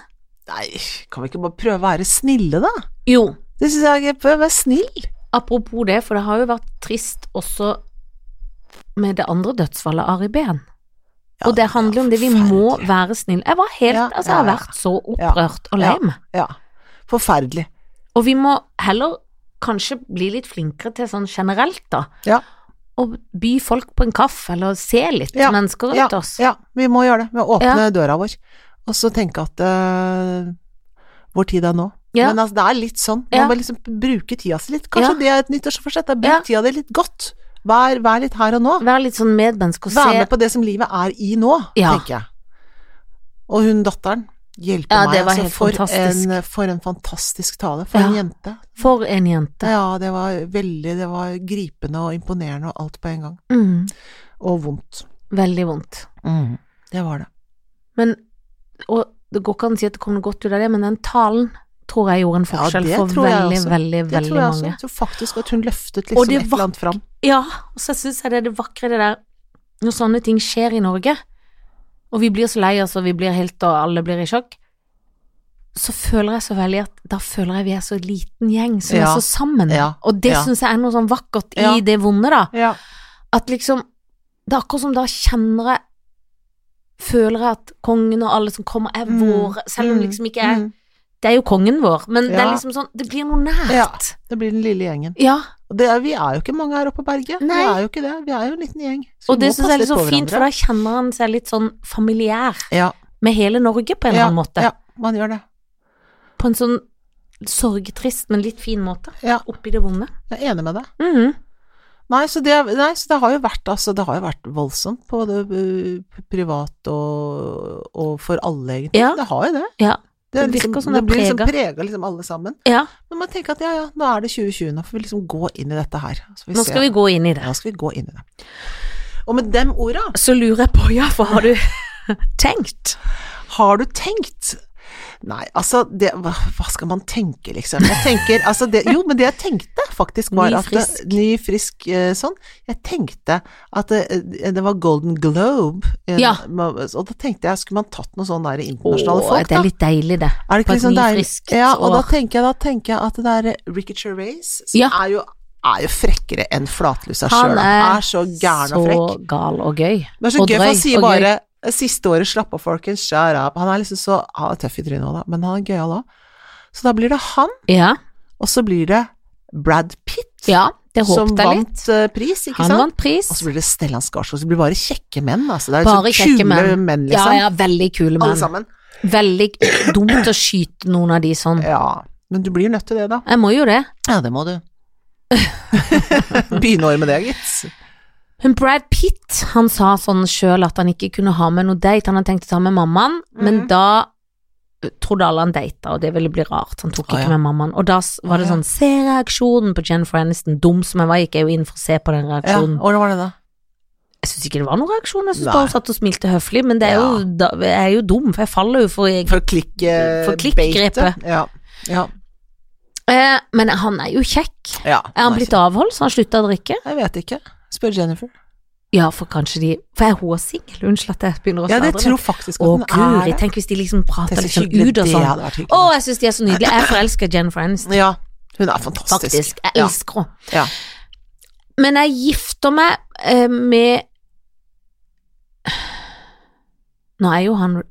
S2: Nei, kan vi ikke bare prøve å være snille, da?
S1: Jo,
S2: Det syns jeg er Prøv å være snill.
S1: apropos det, for det har jo vært trist også med det andre dødsfallet, Ari Behn.
S2: Ja,
S1: og det handler jo om det, vi må
S2: forferdelig.
S1: være snille. Jeg var helt,
S2: Ja,
S1: altså
S2: ja,
S1: jeg har
S2: ja.
S1: vært så opprørt og lei meg.
S2: Ja. Forferdelig.
S1: Og vi må heller kanskje bli litt flinkere til sånn generelt, da.
S2: Ja.
S1: Å by folk på en kaffe, eller se litt
S2: Ja,
S1: mennesker rundt
S2: Ja,
S1: oss.
S2: ja, vi må gjøre det. Ved å åpne døra vår, og så tenke at eh, vår tid er nå.
S1: Ja.
S2: Men altså, det er litt sånn. Man
S1: Ja.
S2: må liksom bruke tida si litt. Kanskje det er et nyttårsforsett. da, Bruk
S1: Ja.
S2: tida di litt godt. Vær, vær litt her og nå.
S1: Vær litt sånn medmenneske og
S2: Vær
S1: se.
S2: med på det som livet er i nå,
S1: Ja.
S2: tenker jeg. Og hun datteren hjelper
S1: Ja, det
S2: meg.
S1: var
S2: Altså,
S1: helt
S2: for,
S1: fantastisk.
S2: en, for en fantastisk tale. For
S1: Ja.
S2: en jente.
S1: For en jente.
S2: Ja, det var veldig Det var gripende og imponerende og alt på en gang.
S1: Mm,
S2: Og vondt.
S1: veldig vondt. Mm.
S2: Det var det.
S1: Men Og det går ikke an å si at det kom noe godt ut av det, men den talen tror jeg gjorde en
S2: Ja,
S1: forskjell
S2: det
S1: for
S2: tror jeg
S1: veldig,
S2: også.
S1: veldig,
S2: Det
S1: veldig
S2: tror jeg også.
S1: mange.
S2: Jeg tror faktisk at hun løftet
S1: Og
S2: liksom
S1: det
S2: et eller annet fram.
S1: Ja, og så syns jeg det er det vakre det der når sånne ting skjer i Norge, og vi blir så lei oss, og vi blir helt og alle blir i sjokk, så føler jeg så veldig at da føler jeg vi er så liten gjeng som
S2: Ja.
S1: er så sammen.
S2: Ja.
S1: Og det
S2: Ja.
S1: synes syns jeg er noe sånn vakkert i
S2: Ja.
S1: det vonde, da.
S2: Ja.
S1: At liksom Det er akkurat som da kjenner jeg Føler jeg at kongen og alle som kommer, er
S2: Mm.
S1: våre, selv om
S2: Mm.
S1: liksom ikke jeg
S2: Mm.
S1: Det er jo kongen vår, men det er
S2: Ja.
S1: liksom sånn Det blir noe nært.
S2: Ja.
S1: Ja.
S2: Det blir den lille gjengen. Og det er, vi er jo ikke mange her oppe på berget.
S1: Nei.
S2: Vi er jo ikke det. Vi er jo en liten gjeng. Så
S1: Og
S2: vi
S1: det
S2: må
S1: syns
S2: passe
S1: jeg er litt så
S2: litt på
S1: fint, for
S2: hverandre.
S1: da kjenner han seg litt sånn familiær
S2: ja.
S1: med hele Norge på en
S2: ja,
S1: eller annen måte.
S2: Ja, man gjør det.
S1: På en sånn sorgtrist, men litt fin måte.
S2: Ja.
S1: Oppi det vonde.
S2: Jeg er enig med deg.
S1: Mhm.
S2: Nei, så det, nei, så det har jo vært altså, Det har jo vært voldsomt, både eh, privat og, og for alle, egentlig.
S1: Ja.
S2: Det har jo det.
S1: Ja.
S2: Det, er
S1: Det virker
S2: liksom,
S1: som
S2: det
S1: det
S2: blir liksom
S1: preger.
S2: prega liksom alle sammen.
S1: ja.
S2: Men man tenker at ja, ja, nå er det 2020, nå får vi liksom gå inn i dette her. Så
S1: Nå skal vi gå inn i det.
S2: Ja, nå skal vi gå inn i det. Og med dem orda
S1: Så lurer jeg på, ja, hva har du *laughs* tenkt?
S2: Har du tenkt? Nei, altså det, hva, hva skal man tenke, liksom? Jeg tenker, altså det, jo, men det jeg tenkte faktisk var
S1: Ny,
S2: at det-
S1: frisk.
S2: Ny, frisk. eh, sånn. Jeg tenkte at det, eh, det var Golden Globe. eh,
S1: Ja.
S2: ma- Og da tenkte jeg, skulle man tatt noen sånne der internasjonale
S1: det
S2: folk, da?
S1: er litt deilig, det.
S2: Er
S1: på
S2: det ikke
S1: et
S2: liksom
S1: nyfriskt
S2: deilig? Ja, og da
S1: år.
S2: tenker jeg, da tenker jeg at det er eh, Ricky Gervais, som
S1: Ja.
S2: er, jo, er jo frekkere enn flatlusa
S1: Han
S2: sjøl.
S1: er
S2: Er så gæren og frekk.
S1: Så gal og gøy.
S2: Men det er så
S1: og
S2: gøy, for han
S1: drøy
S2: sier
S1: og gøy.
S2: bare Siste året slapp av, folkens, shut up. Han er liksom så han er tøff i trynet òg, da, men han er gøyal òg. Så da blir det han,
S1: Ja,
S2: og så blir det Brad Pitt
S1: ja det
S2: som
S1: håpet jeg litt.
S2: vant eh, pris, ikke
S1: Han
S2: sant?
S1: vant pris.
S2: Og så blir det Stellan Skarsgård, så det blir bare kjekke menn, altså. Det er
S1: Bare
S2: så
S1: kjekke
S2: kule menn,
S1: menn. Ja,
S2: liksom.
S1: ja, veldig kule
S2: Alle
S1: menn.
S2: sammen.
S1: Veldig dumt å skyte noen av de sånn.
S2: Ja. Men du blir nødt til det, da.
S1: Jeg må jo det.
S2: Ja, det må du. *laughs* Begynne året med det, gitt.
S1: Men Brad Pitt, han sa sånn sjøl at han ikke kunne ha med noe date. Han hadde tenkt å ta med mammaen, men
S2: Mhm.
S1: da eh, trodde alle han data, og det ville bli rart. Han tok
S2: Å, ja.
S1: ikke med mammaen. Og da s- var det
S2: Å, ja.
S1: sånn Se reaksjonen på Jennifer Aniston. Dum som jeg var, gikk jeg jo inn for å se på den
S2: Ja,
S1: reaksjonen.
S2: hvordan var det, da?
S1: Jeg syns ikke det var noen reaksjon, jeg syns
S2: Nei.
S1: bare hun satt og smilte høflig, men det er jo, da, jeg er jo dum, for jeg faller jo for jeg,
S2: For klikkbeitet?
S1: For klikkgrepet.
S2: Ja. Ja.
S1: eh, Men han er jo kjekk.
S2: ja.
S1: Er han blitt avholds? Har han slutta å drikke?
S2: Jeg vet ikke. Spør Jennifer.
S1: Ja, for kanskje de For er hun singel? Unnskyld at jeg begynner å
S2: Ja,
S1: sladre.
S2: det
S1: men-
S2: tror faktisk
S1: Å,
S2: at den er
S1: guri,
S2: det.
S1: tenk hvis de liksom prater
S2: Tenk så
S1: litt sånn
S2: hyggelig
S1: ut og
S2: det
S1: sånn.
S2: hadde
S1: Å,
S2: vært hyggelig.
S1: jeg syns de er så nydelige. Jeg forelsker Jennifer Aniston.
S2: Ja, Hun er fantastisk.
S1: faktisk. Jeg
S2: Ja.
S1: elsker henne.
S2: Ja.
S1: Men jeg gifter meg eh, med Nå er jo han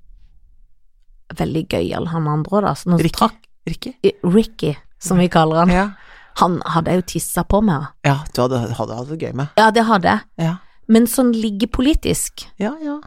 S1: veldig gøyal, han andre, da. Så nå
S2: Ricky.
S1: trakk-
S2: Ricky?
S1: Ricky, som vi kaller han.
S2: Ja.
S1: Han hadde jeg jo tissa på meg. da.
S2: ja, du hadde, hadde hatt det gøy med.
S1: Ja, det hadde jeg.
S2: Ja,
S1: Men sånn ligge politisk
S2: ja. Ja,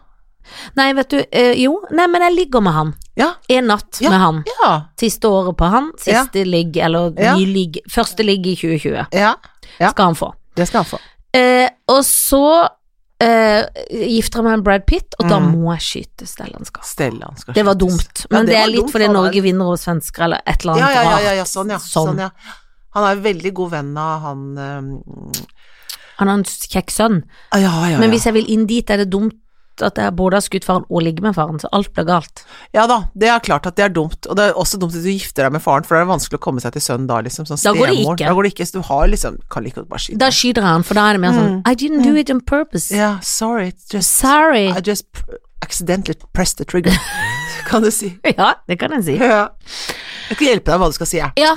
S1: Nei, vet du, eh, jo, nei, men jeg ligger med han.
S2: ja.
S1: En natt med han.
S2: ja.
S1: Siste året på han. Siste ligg, eller
S2: Ja.
S1: ny ligg. Første ligg i 2020
S2: ja. Ja.
S1: skal han få.
S2: Det skal han få.
S1: Eh, og så eh, gifter jeg meg med Brad Pitt, og da
S2: Mm.
S1: må jeg skyte Stellan Skarsgård.
S2: Stellan skal
S1: Det var
S2: skytes.
S1: dumt, men
S2: det
S1: det,
S2: var
S1: er litt
S2: dumt,
S1: fordi
S2: han er-
S1: Norge vinner over svensker, eller et eller
S2: Ja,
S1: annet
S2: ja, ja,
S1: rart.
S2: ja, ja sånn, ja.
S1: Sånn.
S2: Sånn, ja. Han er jo veldig god venn av han um,
S1: Han har en kjekk sønn,
S2: Ja, Ah, ja, ja.
S1: men hvis jeg vil inn dit, er det dumt at jeg både har skutt faren og ligger med faren, så alt blir galt.
S2: Ja da, det er klart at det er dumt, og det er også dumt at du gifter deg med faren, for da er det vanskelig å komme seg til sønnen da, liksom. Sånn
S1: Da går det
S2: stemoren.
S1: ikke.
S2: Da går det ikke. Så du har liksom Kan like godt bare skyte.
S1: Da skyter jeg han, for da er det mer sånn I didn't do it on purpose.
S2: Mm. Ja, sorry, it's just
S1: Sorry.
S2: I just p- accidentally pressed the trigger, *laughs* kan du si.
S1: *laughs* Ja, det kan jeg si.
S2: *laughs* Ja. Jeg skal hjelpe deg med hva du skal si, jeg.
S1: Ja,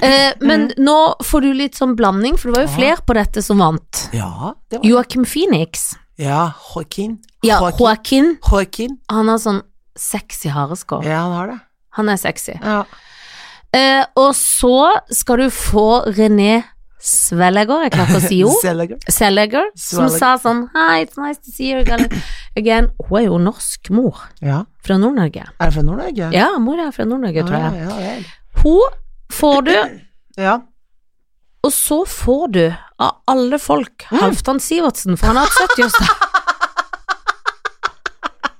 S1: eh,
S2: Mm.
S1: men nå får du litt sånn blanding, for det var jo flere på dette som vant.
S2: Ja, det var
S1: Joachim Phoenix.
S2: Ja, Joaquin.
S1: Ja,
S2: Joaquin.
S1: Joaquin.
S2: Joaquin.
S1: Han har sånn sexy hareskår.
S2: Ja, han har det.
S1: Han er sexy.
S2: Ja.
S1: Eh, og så skal du få René Svellegger, jeg klarer ikke å si
S2: *laughs*
S1: jo.
S2: Zellweger.
S1: Svellegger, som
S2: Svellegger.
S1: sa sånn Hi, it's nice to see you
S2: *laughs*
S1: again. again. Hun er jo norsk mor
S2: Ja.
S1: fra Nord-Norge.
S2: Er det fra Nord-Norge?
S1: Ja, mor er fra Nord-Norge, tror jeg.
S2: Ja, ja, vel.
S1: Hun får du,
S2: ja.
S1: og så får du, av alle folk, Halvdan Sivertsen, for han har hatt
S2: *laughs*
S1: 70-årsdag.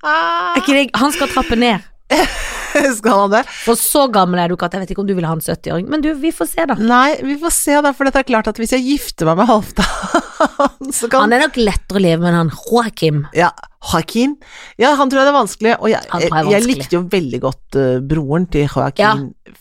S2: Ah.
S1: Er ikke det- Han skal trappe ned.
S2: *laughs* Skal han det?
S1: For så gammel er du ikke at jeg vet ikke om du vil ha en 70-åring, men du, vi får se, da.
S2: Nei, vi får se da, for dette er klart at hvis jeg gifter meg med Halvdan, *laughs* så kan
S1: Han er nok lettere å leve med enn han Joakim.
S2: Ja, Joaquin. Ja, han tror jeg det er vanskelig, og jeg,
S1: Han tror jeg er
S2: jeg, jeg
S1: vanskelig.
S2: likte jo veldig godt eh, broren til Joaquin eh,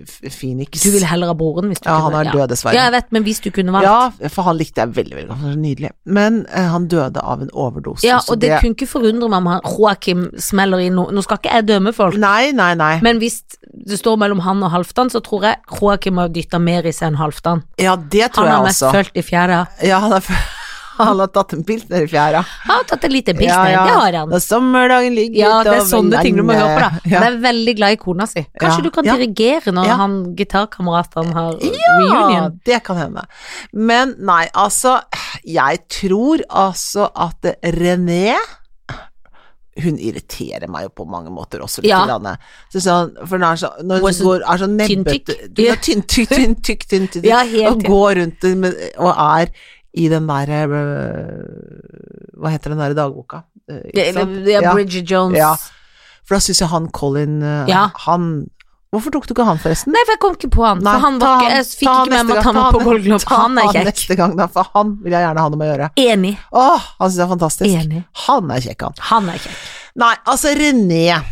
S2: F- Phoenix.
S1: Du ville heller ha broren hvis du
S2: ja,
S1: kunne
S2: han er
S1: ja.
S2: død, dessverre.
S1: Ja, jeg vet, men hvis du kunne valgt. Ja,
S2: Ja, for han likte jeg veldig, veldig godt. Han var så Nydelig. Men eh, han døde av en overdose. så
S1: og det, kunne ikke forundre meg om han Joakim smeller inn noe. Nå skal ikke jeg dømme folk,
S2: Nei, nei, nei.
S1: men hvis det står mellom han og Halvdan, så tror jeg Joakim har dytta mer i seg enn Halvdan.
S2: ja, det tror
S1: Han har
S2: jeg
S1: mest
S2: også.
S1: følt i fjæra.
S2: Ja, han, har, *laughs* han har tatt en pilt ned i fjæra.
S1: Han har tatt en liten pils ned, det har han.
S2: Da sommerdagen ligger
S1: Ja, det er
S2: utover
S1: sånne ting du må høre på, da.
S2: landet. eh, Ja.
S1: Han er veldig glad i kona si. Kanskje
S2: Ja.
S1: du kan
S2: Ja.
S1: dirigere når
S2: Ja.
S1: han gitarkameraten har
S2: Ja,
S1: reunion?
S2: det kan hende. Men nei, altså Jeg tror altså at René hun irriterer meg jo på mange måter også litt.
S1: Ja.
S2: grann. Så sånn, for når hun er så, når
S1: Hun er
S2: hun
S1: så
S2: går, er så nebbete
S1: tynntykk.
S2: Hun er tynn, tykk, tynn, tykk, tynn, tynn,
S1: Ja, helt
S2: og
S1: tynn.
S2: går rundt med, og er i den derre øh, Hva heter den derre dagboka? Øh,
S1: Det,
S2: ikke sant?
S1: det er
S2: Ja.
S1: Bridget Jones.
S2: Ja. For da syns jeg han Colin øh,
S1: Ja.
S2: Han Hvorfor tok du ikke han, forresten?
S1: Nei, for jeg kom ikke på han.
S2: Nei,
S1: for han
S2: ta
S1: var ikke,
S2: han-
S1: jeg fikk
S2: ta han
S1: ikke med
S2: neste
S1: meg at
S2: gang,
S1: han
S2: ta
S1: var på
S2: han-
S1: Golden Globe.
S2: ta
S1: Han er kjekk.
S2: neste gang, da, for han vil jeg gjerne ha noe med å gjøre.
S1: Enig.
S2: Åh, han syns jeg er fantastisk.
S1: Enig.
S2: Han er kjekk, han.
S1: Han er kjekk.
S2: Nei, altså René.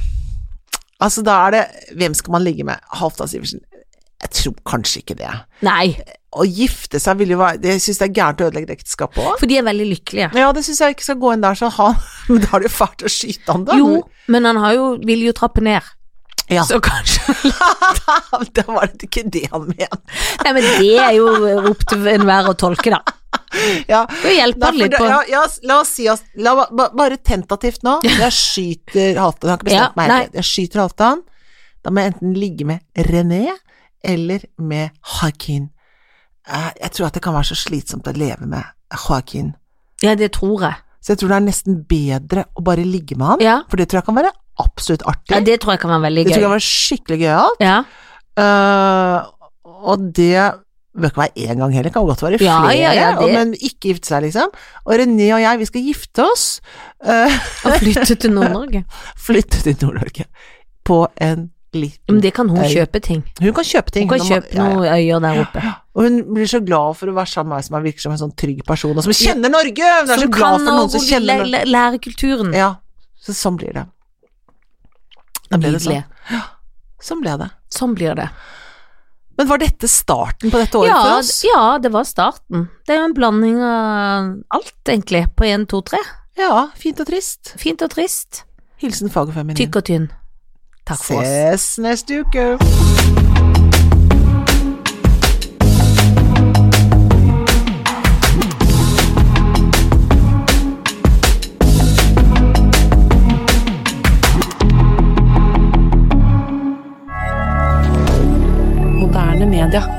S2: Altså, da er det Hvem skal man ligge med? Halvdan Sivertsen? Jeg tror kanskje ikke det.
S1: Nei,
S2: Å gifte seg vil jo være Det syns jeg er gærent å ødelegge ekteskapet òg.
S1: for de er veldig lykkelige.
S2: Ja, det syns jeg ikke skal gå inn der, så han *laughs* Men da er det jo fælt å skyte han, da.
S1: Jo, men han har jo, vil jo trappe ned.
S2: Ja.
S1: Så
S2: *laughs*
S1: kanskje
S2: *laughs* da var det ikke det han mente.
S1: Nei, men det er jo opp til enhver å tolke, da.
S2: Ja.
S1: Da hjelper
S2: Nei,
S1: han
S2: for
S1: litt
S2: det-
S1: på
S2: ja, ja, s- la oss si oss la, ba- ba, Bare tentativt nå. Jeg skyter Halvdan. Jeg har ikke
S1: Ja,
S2: bestemt meg
S1: nei.
S2: helt. Jeg skyter Halvdan. Da må jeg enten ligge med René eller med Joaquin. Eh, Jeg tror at det kan være så slitsomt å leve med Joaquin.
S1: Ja, det tror jeg.
S2: Så jeg tror det er nesten bedre å bare ligge med han,
S1: Ja.
S2: for det tror jeg kan være absolutt artig.
S1: Ja,
S2: det,
S1: det tror jeg kan være veldig
S2: tror
S1: gøy.
S2: jeg kan være skikkelig gøyalt.
S1: Ja,
S2: Eh, og det bør ikke være én gang heller, det kan godt være
S1: Ja,
S2: flere,
S1: ja, ja, det-
S2: og- men ikke gifte seg, liksom. Og René og jeg, vi skal gifte oss. eh,
S1: Å flytte til
S2: *laughs*
S1: Nord-Norge.
S2: flytte til Nord-Norge på en
S1: Men
S2: liten
S1: det kan hun
S2: Øy.
S1: kjøpe ting.
S2: Hun kan kjøpe ting.
S1: Hun kan
S2: må-
S1: kjøpe
S2: ja, ja.
S1: noen øyer der oppe.
S2: Og hun blir så glad for å være sammen med meg som er virker som en sånn trygg person, og som kjenner Norge! Hun er så
S1: Som
S2: glad
S1: kan
S2: for
S1: å
S2: noen som kjenner
S1: læ-
S2: Norge.
S1: læ- lære kulturen.
S2: Ja, så sånn blir det. Da ble det
S1: Nydelig.
S2: sånn. Sånn ble det.
S1: Sånn blir det.
S2: Men var dette starten på dette året
S1: ja,
S2: for oss?
S1: d- ja, det var starten. Det er jo en blanding av alt, egentlig, på 1, 2, 3.
S2: Ja, fint og trist.
S1: Fint og trist.
S2: Hilsen Fagerfeminin.
S1: Tykk og tynn. Takk for oss.
S2: Ses neste uke.
S1: media.